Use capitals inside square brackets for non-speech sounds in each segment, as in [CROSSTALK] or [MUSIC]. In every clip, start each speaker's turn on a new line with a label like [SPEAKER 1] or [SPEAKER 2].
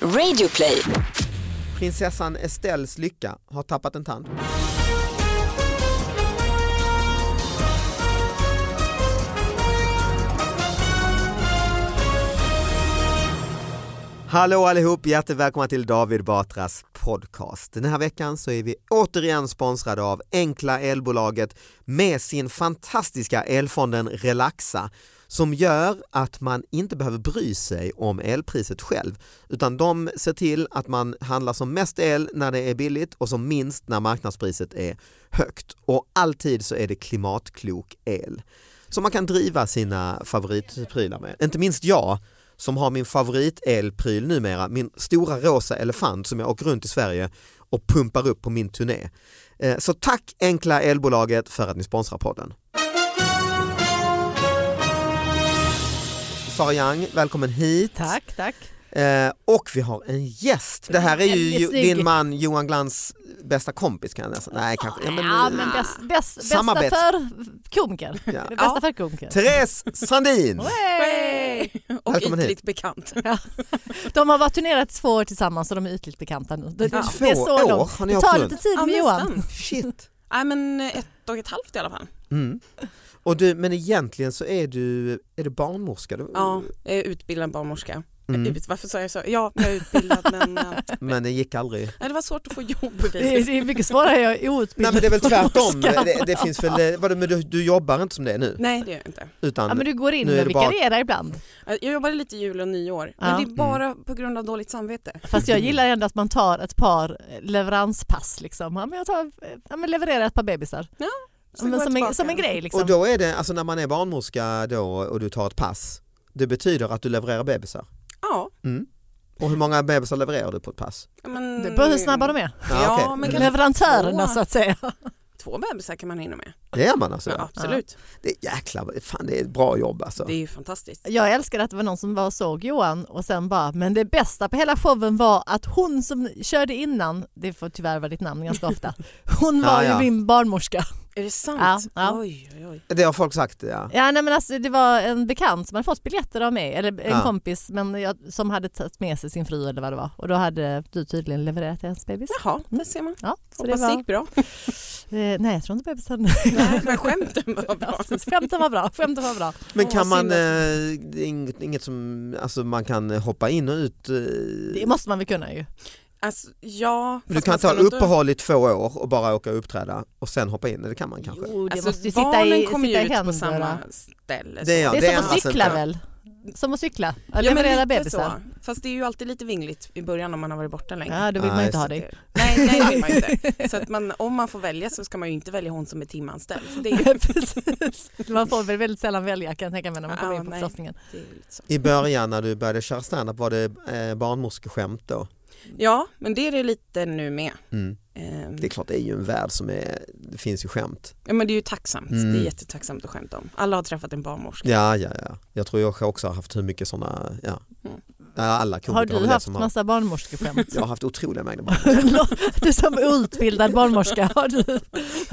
[SPEAKER 1] Radioplay.
[SPEAKER 2] Prinsessan Estelles lycka har tappat en tand. Hallå allihop, hjärtligt välkomna till David Batras podcast. Den här veckan så är vi återigen sponsrade av Enkla Elbolaget med sin fantastiska elfonden Relaxa som gör att man inte behöver bry sig om elpriset själv utan de ser till att man handlar som mest el när det är billigt och som minst när marknadspriset är högt. Och alltid så är det klimatklok el som man kan driva sina favoritprylar med. Inte minst jag som har min favoritelpryl numera, min stora rosa elefant som jag åker runt i Sverige och pumpar upp på min turné. Eh, Så tack Enkla Elbolaget för att ni sponsrar podden. Sara Young, välkommen hit.
[SPEAKER 3] Tack, tack.
[SPEAKER 2] Eh, och vi har en gäst. Det här är ju
[SPEAKER 3] Väldigt
[SPEAKER 2] ju-
[SPEAKER 3] snygg.
[SPEAKER 2] din man Johan Glans bästa kompis kan jag nästan. Nej, kanske. Ja, men,
[SPEAKER 3] Ja, men bäst, bäst,
[SPEAKER 2] Samma
[SPEAKER 3] bästa
[SPEAKER 2] bäst.
[SPEAKER 3] för komiker.
[SPEAKER 2] Ja.
[SPEAKER 3] Det bästa för komiker.
[SPEAKER 2] Therese Sandin!
[SPEAKER 3] Hey!
[SPEAKER 4] [LAUGHS] Och
[SPEAKER 2] Välkommen hit.
[SPEAKER 4] ytligt bekant. [LAUGHS]
[SPEAKER 3] De har varit turnerat två år tillsammans och de är ytligt bekanta nu. Det,
[SPEAKER 4] Ja.
[SPEAKER 3] det är
[SPEAKER 2] Två
[SPEAKER 3] så
[SPEAKER 2] år
[SPEAKER 3] långt.
[SPEAKER 2] har ni
[SPEAKER 3] det
[SPEAKER 2] åkt
[SPEAKER 3] tar
[SPEAKER 2] runt.
[SPEAKER 3] lite tid med Johan.
[SPEAKER 4] nästan.
[SPEAKER 2] Shit.
[SPEAKER 4] Nej men eh, ett och ett halvt i alla fall.
[SPEAKER 2] Mm. Och du, men egentligen så är du, är du barnmorska? Du-
[SPEAKER 4] Ja, jag är utbildad barnmorska.
[SPEAKER 2] Mm.
[SPEAKER 4] Ut, varför sa jag så? Ja, jag
[SPEAKER 3] [LAUGHS]
[SPEAKER 4] är utbildad men eh,
[SPEAKER 2] Men det gick aldrig.
[SPEAKER 4] nej, det var svårt att få jobb.
[SPEAKER 3] Det är, det är mycket svårare, jag är
[SPEAKER 2] Nej
[SPEAKER 3] outbildad
[SPEAKER 2] men det är väl
[SPEAKER 3] [LAUGHS]
[SPEAKER 2] tvärtom.
[SPEAKER 3] barnmorska.
[SPEAKER 2] Det, det finns väl, vadå, men du, du jobbar inte som det är nu?
[SPEAKER 4] Nej det gör jag inte. Eh,
[SPEAKER 2] Utan,
[SPEAKER 3] Ja, men du går in
[SPEAKER 2] Nu är
[SPEAKER 3] och
[SPEAKER 2] det bara-
[SPEAKER 3] vikarierar ibland.
[SPEAKER 4] Jag jobbade lite jul och nyår
[SPEAKER 3] Ja.
[SPEAKER 4] men
[SPEAKER 2] Mm.
[SPEAKER 4] det är bara på grund av dåligt samvete.
[SPEAKER 3] Fast jag gillar ändå att man tar ett par leveranspass. Liksom. Ja, men jag tar, ja, men levererar ett par bebisar.
[SPEAKER 4] Så går
[SPEAKER 3] men
[SPEAKER 4] jag
[SPEAKER 3] som,
[SPEAKER 4] tillbaka.
[SPEAKER 3] en, som en grej. Liksom.
[SPEAKER 2] Och då är det, alltså när man är barnmorska då och du tar ett pass, det betyder att du levererar bebisar? Mm.
[SPEAKER 4] Ja.
[SPEAKER 2] Och hur många bebisar levererar du på ett pass?
[SPEAKER 4] Men,
[SPEAKER 3] Det beror hur snabba de är.
[SPEAKER 4] Ja,
[SPEAKER 2] okej.
[SPEAKER 4] men kanske-
[SPEAKER 3] Leverantörerna
[SPEAKER 4] två.
[SPEAKER 3] så att säga.
[SPEAKER 4] Två bebisar kan man hinna med.
[SPEAKER 2] Det gör man alltså?
[SPEAKER 4] Ja,
[SPEAKER 2] Ja.
[SPEAKER 4] absolut.
[SPEAKER 2] Det är jäkla, fan det är ett bra jobb alltså.
[SPEAKER 4] Det är ju fantastiskt.
[SPEAKER 3] Jag älskar att det var någon som var och såg Johan och sen bara, men det bästa på hela showen var att hon som körde innan, det får tyvärr vara ditt namn ganska [LAUGHS] ofta, hon var
[SPEAKER 2] Ja, ja.
[SPEAKER 3] ju min barnmorska.
[SPEAKER 4] Är det sant?
[SPEAKER 3] Ja, ja.
[SPEAKER 4] Oj, oj, oj.
[SPEAKER 2] Det har folk sagt ja.
[SPEAKER 3] Ja, nej, men alltså, det var en bekant som hade fått biljetter av mig, eller en
[SPEAKER 2] Ja.
[SPEAKER 3] kompis men jag, som hade tagit med sig sin fru eller vad det var och då hade du tydligen levererat hennes bebis.
[SPEAKER 4] Jaha, där ser man.
[SPEAKER 3] Ja, Mm. så det
[SPEAKER 4] Hoppas det
[SPEAKER 3] var, eh, [LAUGHS]
[SPEAKER 4] gick bra.
[SPEAKER 3] nej jag tror inte bebisen... [LAUGHS]
[SPEAKER 4] Nej, men skämten var bra.
[SPEAKER 3] Skämten var bra, skämten var bra.
[SPEAKER 2] Men
[SPEAKER 4] Åh,
[SPEAKER 2] kan
[SPEAKER 4] vad
[SPEAKER 2] man,
[SPEAKER 4] synd
[SPEAKER 2] eh, det är inget, inget som, alltså man kan hoppa in och ut? eh,
[SPEAKER 3] Det måste man väl kunna ju.
[SPEAKER 4] Alltså, ja,
[SPEAKER 2] Du
[SPEAKER 4] fast
[SPEAKER 2] kan
[SPEAKER 4] man ska
[SPEAKER 2] ta
[SPEAKER 4] nog inte-
[SPEAKER 2] uppehåll i två år och bara åka och uppträda och sen hoppa in, det kan man kanske?
[SPEAKER 3] Jo, Oh, det
[SPEAKER 4] Alltså,
[SPEAKER 3] måste ju sitta
[SPEAKER 4] barnen
[SPEAKER 3] i,
[SPEAKER 4] kommer ju
[SPEAKER 3] sitta i
[SPEAKER 4] ut
[SPEAKER 3] händer.
[SPEAKER 4] på
[SPEAKER 3] och-
[SPEAKER 4] samma ställe.
[SPEAKER 2] Det är jag.
[SPEAKER 3] Det är
[SPEAKER 2] det
[SPEAKER 3] som att
[SPEAKER 2] ändras
[SPEAKER 3] cykla
[SPEAKER 2] inte.
[SPEAKER 3] väl? Som att cykla?
[SPEAKER 4] Ja,
[SPEAKER 3] Att
[SPEAKER 4] men
[SPEAKER 3] leverera
[SPEAKER 4] lite
[SPEAKER 3] bebisar?
[SPEAKER 4] så. Fast det är ju alltid lite vingligt i början om man har varit borta länge.
[SPEAKER 3] Ja, då vill
[SPEAKER 2] Ja,
[SPEAKER 3] man ju
[SPEAKER 2] just
[SPEAKER 3] inte ha
[SPEAKER 4] Så
[SPEAKER 3] dig.
[SPEAKER 4] det- Nej, nej det vill man ju
[SPEAKER 3] [LAUGHS]
[SPEAKER 4] inte. Så att man, om man får välja så ska man ju inte välja hon som är timanställd. Så det är ju
[SPEAKER 3] Precis. Man får väl väldigt sällan välja kan jag tänka mig när man kommer
[SPEAKER 4] Ja,
[SPEAKER 3] in på
[SPEAKER 4] nej.
[SPEAKER 3] förlossningen.
[SPEAKER 4] det är ju lite så.
[SPEAKER 2] I början när du började köra standup var det eh, barnmorskeskämt då?
[SPEAKER 4] Ja, men det är det lite nu med.
[SPEAKER 2] Mm.
[SPEAKER 4] Ehm,
[SPEAKER 2] Det är klart, det är ju en värld som är, det finns ju skämt.
[SPEAKER 4] Ja, men det är ju tacksamt.
[SPEAKER 2] Mm.
[SPEAKER 4] Det är jättetacksamt att skämta om. Alla har träffat en barnmorska.
[SPEAKER 2] Ja, ja, ja. Jag tror jag också har haft hur mycket sådana, ja.
[SPEAKER 4] Mm.
[SPEAKER 2] Ja, Alla komiker
[SPEAKER 3] Har
[SPEAKER 2] väl
[SPEAKER 3] du
[SPEAKER 2] det
[SPEAKER 3] haft
[SPEAKER 2] som [LAUGHS]
[SPEAKER 3] massa barnmorskeskämt? [LAUGHS]
[SPEAKER 2] Jag har haft otroliga mängder barn.
[SPEAKER 3] du som outbildad barnmorska, har du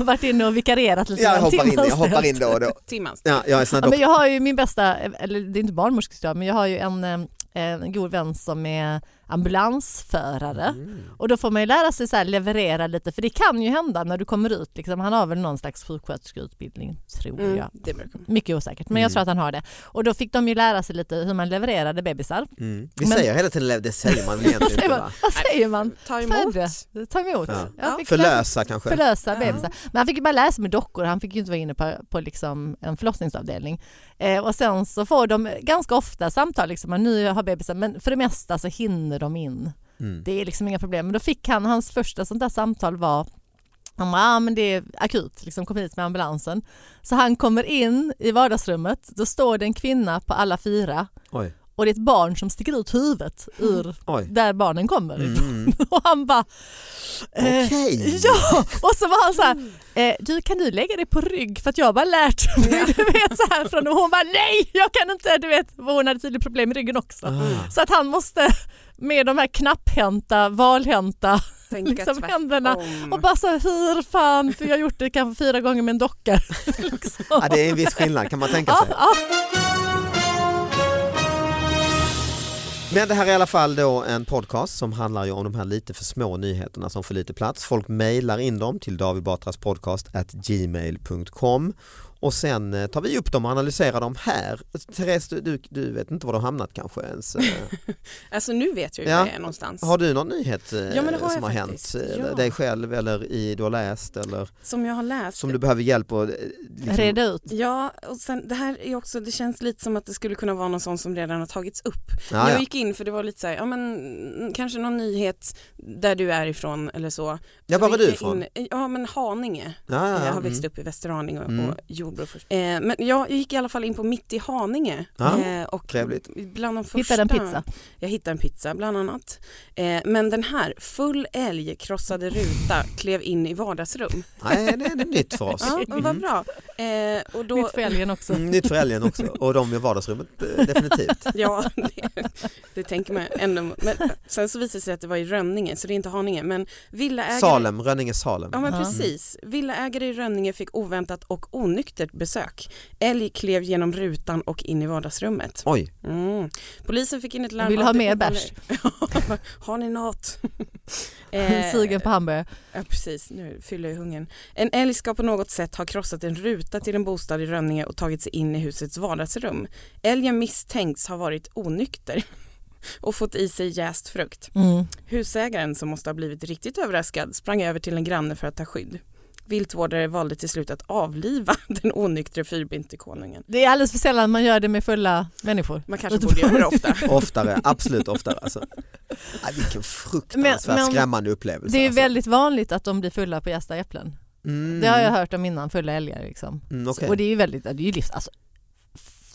[SPEAKER 3] varit inne och vikarierat lite?
[SPEAKER 2] Jag
[SPEAKER 3] grann?
[SPEAKER 2] hoppar in, jag
[SPEAKER 3] Timanställd.
[SPEAKER 2] hoppar in då och då.
[SPEAKER 4] Timanställd.
[SPEAKER 2] Ja, jag är sån
[SPEAKER 3] Ja,
[SPEAKER 2] här
[SPEAKER 3] men
[SPEAKER 2] dock.
[SPEAKER 3] jag har ju min bästa, eller det är inte barnmorskestuga, men jag har ju en, eh, en god vän som är ambulansförare.
[SPEAKER 2] Mm.
[SPEAKER 3] Och då får man ju lära sig så här, leverera lite, för det kan ju hända när du kommer ut. Liksom, han har väl någon slags sjuksköterskeutbildning, tror
[SPEAKER 4] Mm,
[SPEAKER 3] jag.
[SPEAKER 4] det brukar man.
[SPEAKER 3] Mycket osäkert, men jag tror att han har det. Och då fick de ju lära sig lite hur man levererade bebisar.
[SPEAKER 2] Mm. Vi
[SPEAKER 3] Men-
[SPEAKER 2] säger hela tiden, det säger man väl egentligen
[SPEAKER 3] [LAUGHS]
[SPEAKER 2] inte
[SPEAKER 3] Säger man-
[SPEAKER 2] va?
[SPEAKER 3] [LAUGHS] Vad säger man?
[SPEAKER 4] Ta emot.
[SPEAKER 3] Födde, ta emot.
[SPEAKER 2] Ja.
[SPEAKER 3] Jag fick lära-
[SPEAKER 2] Förlösa kanske?
[SPEAKER 3] Förlösa
[SPEAKER 4] Ja.
[SPEAKER 3] bebisar. Men han fick ju bara lära sig med dockor, han fick ju inte vara inne på, på liksom en förlossningsavdelning. Eh, och sen så får de ganska ofta samtal, liksom, att nu har bebisen, men för det mesta så hinner de in.
[SPEAKER 2] Mm.
[SPEAKER 3] Det är liksom inga problem. Men då fick han, hans första sånt där samtal var han bara, ah, men det är akut, liksom, kom hit med ambulansen. Så han kommer in i vardagsrummet, då står det en kvinna på alla fyra
[SPEAKER 2] Oj,
[SPEAKER 3] och det är ett barn som sticker ut huvudet ur [LAUGHS]
[SPEAKER 2] oj.
[SPEAKER 3] där barnen kommer.
[SPEAKER 2] Mm.
[SPEAKER 3] [LAUGHS] Och han bara, eh,
[SPEAKER 2] Okej.
[SPEAKER 3] [LAUGHS] ja, och så var han så här, eh, du kan du lägga dig på rygg för att jag har bara lärt mig, [LAUGHS] du vet så här från och hon bara nej, jag kan inte, du vet, för hon hade tydligen problem med ryggen också.
[SPEAKER 2] Ah.
[SPEAKER 3] Så att han måste med de här knapphänta, valhänta
[SPEAKER 4] Tänka
[SPEAKER 3] liksom
[SPEAKER 4] tvärtom.
[SPEAKER 3] händerna och bara så här, hur fan, för jag har gjort det kanske fyra gånger med en docka. [LAUGHS] liksom.
[SPEAKER 2] Ja, det är en viss skillnad kan man tänka
[SPEAKER 3] Ja,
[SPEAKER 2] sig.
[SPEAKER 3] ja.
[SPEAKER 2] Men det här är i alla fall då en podcast som handlar ju om de här lite för små nyheterna som får lite plats. Folk mejlar in dem till davidbatraspodcast@gmail.com och sen eh, tar vi upp dem och analyserar dem här. Therese, du, du, du vet inte var de har hamnat kanske ens.
[SPEAKER 4] [LAUGHS]
[SPEAKER 2] eh.
[SPEAKER 4] Alltså nu vet jag ju
[SPEAKER 2] Ja.
[SPEAKER 4] var jag är någonstans.
[SPEAKER 2] Har du någon nyhet eh,
[SPEAKER 4] Ja, men det har
[SPEAKER 2] som
[SPEAKER 4] jag
[SPEAKER 2] har hänt
[SPEAKER 4] faktiskt.
[SPEAKER 2] eh,
[SPEAKER 4] Ja.
[SPEAKER 2] dig själv eller i, du har läst eller
[SPEAKER 4] Som jag har läst.
[SPEAKER 2] som du behöver hjälp att eh, liksom,
[SPEAKER 3] Reda ut.
[SPEAKER 4] Ja, och sen det här är också, det känns lite som att det skulle kunna vara någon sån som redan har tagits upp.
[SPEAKER 2] Ja,
[SPEAKER 4] Jag
[SPEAKER 2] ja.
[SPEAKER 4] gick in för det var lite så här, ja men mm, kanske någon nyhet där du är ifrån eller så.
[SPEAKER 2] ja, var
[SPEAKER 4] Så
[SPEAKER 2] var du
[SPEAKER 4] gick jag
[SPEAKER 2] ifrån?
[SPEAKER 4] in- Ja men Haninge.
[SPEAKER 2] Ja, ja, ja.
[SPEAKER 4] Jag har växt
[SPEAKER 2] Mm.
[SPEAKER 4] upp i Västerhaninge och,
[SPEAKER 2] Mm.
[SPEAKER 4] och Jordbro först. Eh, men jag, jag gick i alla fall in på Mitt i Haninge.
[SPEAKER 2] Ja,
[SPEAKER 4] eh, och
[SPEAKER 2] trevligt.
[SPEAKER 4] Bland de första,
[SPEAKER 3] Hittade en pizza.
[SPEAKER 4] Jag hittade en pizza bland annat. Eh, men den här, full älg krossade ruta, [LAUGHS] klev in i vardagsrum.
[SPEAKER 2] Nej, det är det nytt för oss.
[SPEAKER 4] [LAUGHS] Ja, men vad bra.
[SPEAKER 2] Mhm.
[SPEAKER 4] Eh, och då,
[SPEAKER 3] Nytt för älgen också.
[SPEAKER 2] Mm, nytt för älgen också och de i vardagsrummet
[SPEAKER 3] [LAUGHS]
[SPEAKER 2] eh, definitivt.
[SPEAKER 4] [LAUGHS] Ja, det, det tänker man ändå. Men sen så visade det sig att det var i Rönninge, så det är inte Haninge. Men villaägare,
[SPEAKER 2] Salem, Rönninge Salem.
[SPEAKER 4] Ja, men
[SPEAKER 3] Ja.
[SPEAKER 4] precis. Villaägare i Rönninge fick oväntat och onyktert besök. Älg klev genom rutan och in i vardagsrummet.
[SPEAKER 2] Oj,
[SPEAKER 4] Mm. Polisen fick in ett larm.
[SPEAKER 3] Vill du ha mer bärs?
[SPEAKER 4] [LAUGHS] Ja, Har
[SPEAKER 3] [LAUGHS]
[SPEAKER 4] ni något? Eh,
[SPEAKER 3] Sugen på hamburgare.
[SPEAKER 4] Ja precis, nu fyller jag hungern. En älg ska på något sätt ha krossat en ruta till en bostad i Rönninge och tagit sig in i husets vardagsrum. Älgen misstänks ha varit onykter [LAUGHS] och fått i sig jäst frukt.
[SPEAKER 3] Mm.
[SPEAKER 4] Husägaren som måste ha blivit riktigt överraskad sprang över till en granne för att ta skydd. Viltvårdare valde till slut att avliva [LAUGHS] den onyktre fyrbinte konungen.
[SPEAKER 3] Det är alldeles för sällan man gör det med fulla människor.
[SPEAKER 4] Man kanske borde göra
[SPEAKER 3] [LAUGHS]
[SPEAKER 4] det ofta.
[SPEAKER 2] oftare, absolut oftare alltså. Ah, vilken fruktansvärt
[SPEAKER 3] Men- men-
[SPEAKER 2] skrämmande upplevelse.
[SPEAKER 3] Det är
[SPEAKER 2] alltså.
[SPEAKER 3] väldigt vanligt att de blir fulla på jästa äpplen.
[SPEAKER 2] Mm,
[SPEAKER 3] Det har jag hört om innan, fulla älgar liksom.
[SPEAKER 2] Mm, okej.
[SPEAKER 3] Och det är ju väldigt, det är ju livs... Alltså,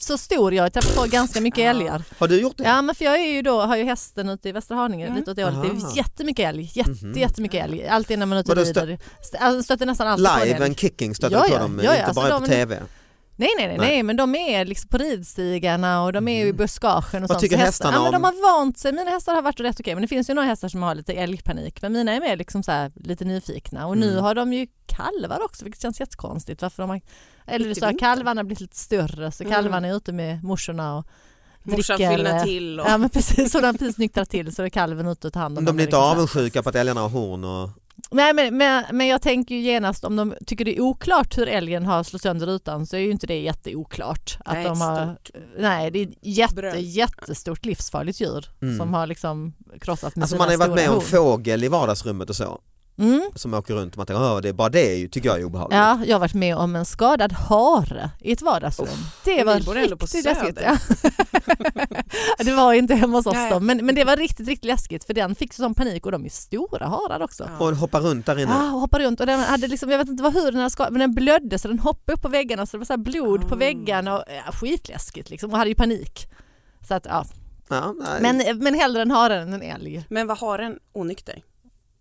[SPEAKER 3] så stor jag är, jag får ganska mycket
[SPEAKER 2] Ah.
[SPEAKER 4] Ja.
[SPEAKER 3] älgar.
[SPEAKER 2] Har du gjort det?
[SPEAKER 3] Ja men för jag är ju då, har ju hästen ute i Västra Haninge
[SPEAKER 4] Mm.
[SPEAKER 3] lite åt det hållet. Det
[SPEAKER 2] Aha.
[SPEAKER 3] är jättemycket älg, jätte,
[SPEAKER 2] Mhm.
[SPEAKER 3] jättemycket älg. Alltid när man är ute och
[SPEAKER 2] Vadå, stö-
[SPEAKER 3] rider. St- alltså, stöter nästan alltid på en
[SPEAKER 2] Live
[SPEAKER 3] älg.
[SPEAKER 2] and kicking stöter
[SPEAKER 3] Ja,
[SPEAKER 2] du på
[SPEAKER 3] ja,
[SPEAKER 2] dem, eh,
[SPEAKER 3] ja, ja,
[SPEAKER 2] inte
[SPEAKER 3] alltså
[SPEAKER 2] bara på
[SPEAKER 3] de-
[SPEAKER 2] tv.
[SPEAKER 3] Nej, nej nej
[SPEAKER 2] Nej.
[SPEAKER 3] nej men de är liksom på ridstigarna och de är ju i
[SPEAKER 2] Mhm.
[SPEAKER 3] buskagen. Och
[SPEAKER 2] Vad
[SPEAKER 3] sånt.
[SPEAKER 2] tycker
[SPEAKER 3] Så
[SPEAKER 2] hästarna
[SPEAKER 3] ja, men
[SPEAKER 2] om-
[SPEAKER 3] De har vant sig, mina hästar har varit rätt okej men det finns ju några hästar som har lite älgpanik men mina är mer liksom så här, lite nyfikna och nu
[SPEAKER 2] Mm.
[SPEAKER 3] har de ju kalvar också vilket känns jättekonstigt. Varför de har... Eller
[SPEAKER 4] Mitt i
[SPEAKER 3] så har
[SPEAKER 4] vintern.
[SPEAKER 3] kalvarna blivit lite större så
[SPEAKER 4] Mm.
[SPEAKER 3] kalvarna är ute med morsorna och
[SPEAKER 4] Morsan
[SPEAKER 3] dricker, eh,
[SPEAKER 4] fyllde till och...
[SPEAKER 3] Ja men precis, så de precis nyktrar till så är kalven ute och tar hand om
[SPEAKER 2] De
[SPEAKER 3] dem.
[SPEAKER 2] blir inte
[SPEAKER 3] liksom så Alltså, här.
[SPEAKER 2] avundsjuka på att älgarna har horn och
[SPEAKER 3] Nej men, men, men jag tänker ju genast om de tycker det är oklart hur älgen har slått sönder rutan så är ju inte det jätteoklart. Att
[SPEAKER 4] Nej,
[SPEAKER 3] de
[SPEAKER 4] ett
[SPEAKER 3] har, nej det är ett jätte,
[SPEAKER 4] bröl.
[SPEAKER 3] jättestort livsfarligt djur
[SPEAKER 2] Mm.
[SPEAKER 3] som har liksom krossat med
[SPEAKER 2] Alltså
[SPEAKER 3] sina
[SPEAKER 2] man har ju varit
[SPEAKER 3] stora
[SPEAKER 2] med om
[SPEAKER 3] horn.
[SPEAKER 2] fågel i vardagsrummet och så
[SPEAKER 3] Mm.
[SPEAKER 2] som åker runt och man tänker, "Åh, det är bara det är ju, tycker jag är obehagligt.
[SPEAKER 3] Ja, jag har varit med om en skadad hare i ett vardagsrum. det var
[SPEAKER 4] vi bor ändå på
[SPEAKER 3] riktigt
[SPEAKER 4] Söder.
[SPEAKER 3] läskigt. Ja. [LAUGHS] det var ju inte hemma hos oss
[SPEAKER 4] Nej.
[SPEAKER 3] då, men, men det var riktigt, riktigt läskigt för den fick sån panik och de är stora harar också.
[SPEAKER 2] Och hoppar runt där inne.
[SPEAKER 3] Ah, och hoppade runt och den hade liksom, jag vet inte vad hur den hade skadat, men den blödde så den hoppade upp på väggarna så det var så här blod på
[SPEAKER 4] Ah.
[SPEAKER 3] väggarna och ja, skitläskigt liksom och hade ju panik. Så att, ja.
[SPEAKER 2] Ja, nej.
[SPEAKER 3] men, men hellre en hare än en älg.
[SPEAKER 4] Men vad har en onykter?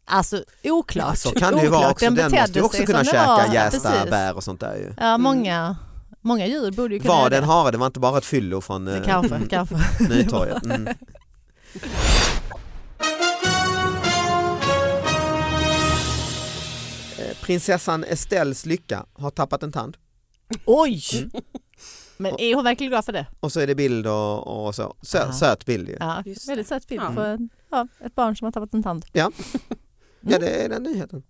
[SPEAKER 3] Alltså oklart.
[SPEAKER 2] så kan det ju vara
[SPEAKER 3] Oklart.
[SPEAKER 2] också, den, måste
[SPEAKER 3] betedde
[SPEAKER 2] ju också
[SPEAKER 3] sig
[SPEAKER 2] kunna
[SPEAKER 3] som den
[SPEAKER 2] käka
[SPEAKER 3] var.
[SPEAKER 2] jästa
[SPEAKER 3] Precis.
[SPEAKER 2] bär och sånt där ju.
[SPEAKER 3] Ja, många, många djur borde ju kunna
[SPEAKER 2] Var
[SPEAKER 3] göra
[SPEAKER 2] den hare, det var inte bara ett fyllo från
[SPEAKER 3] det.
[SPEAKER 2] eh,
[SPEAKER 3] Kanske, kanske.
[SPEAKER 2] [LAUGHS] Nytorget. Mm. Eh, Prinsessan Estelles lycka har tappat en tand
[SPEAKER 3] Oj!
[SPEAKER 2] Mm.
[SPEAKER 3] Men är hon verkligen glad för det?
[SPEAKER 2] och så är det bild och, och så. Sö,
[SPEAKER 3] Ja.
[SPEAKER 2] Söt bild ju.
[SPEAKER 3] Ja,
[SPEAKER 4] Just
[SPEAKER 3] väldigt söt bild
[SPEAKER 4] Ja.
[SPEAKER 3] på en, ja, ett barn som har tappat en tand.
[SPEAKER 2] Ja det är den nyheten.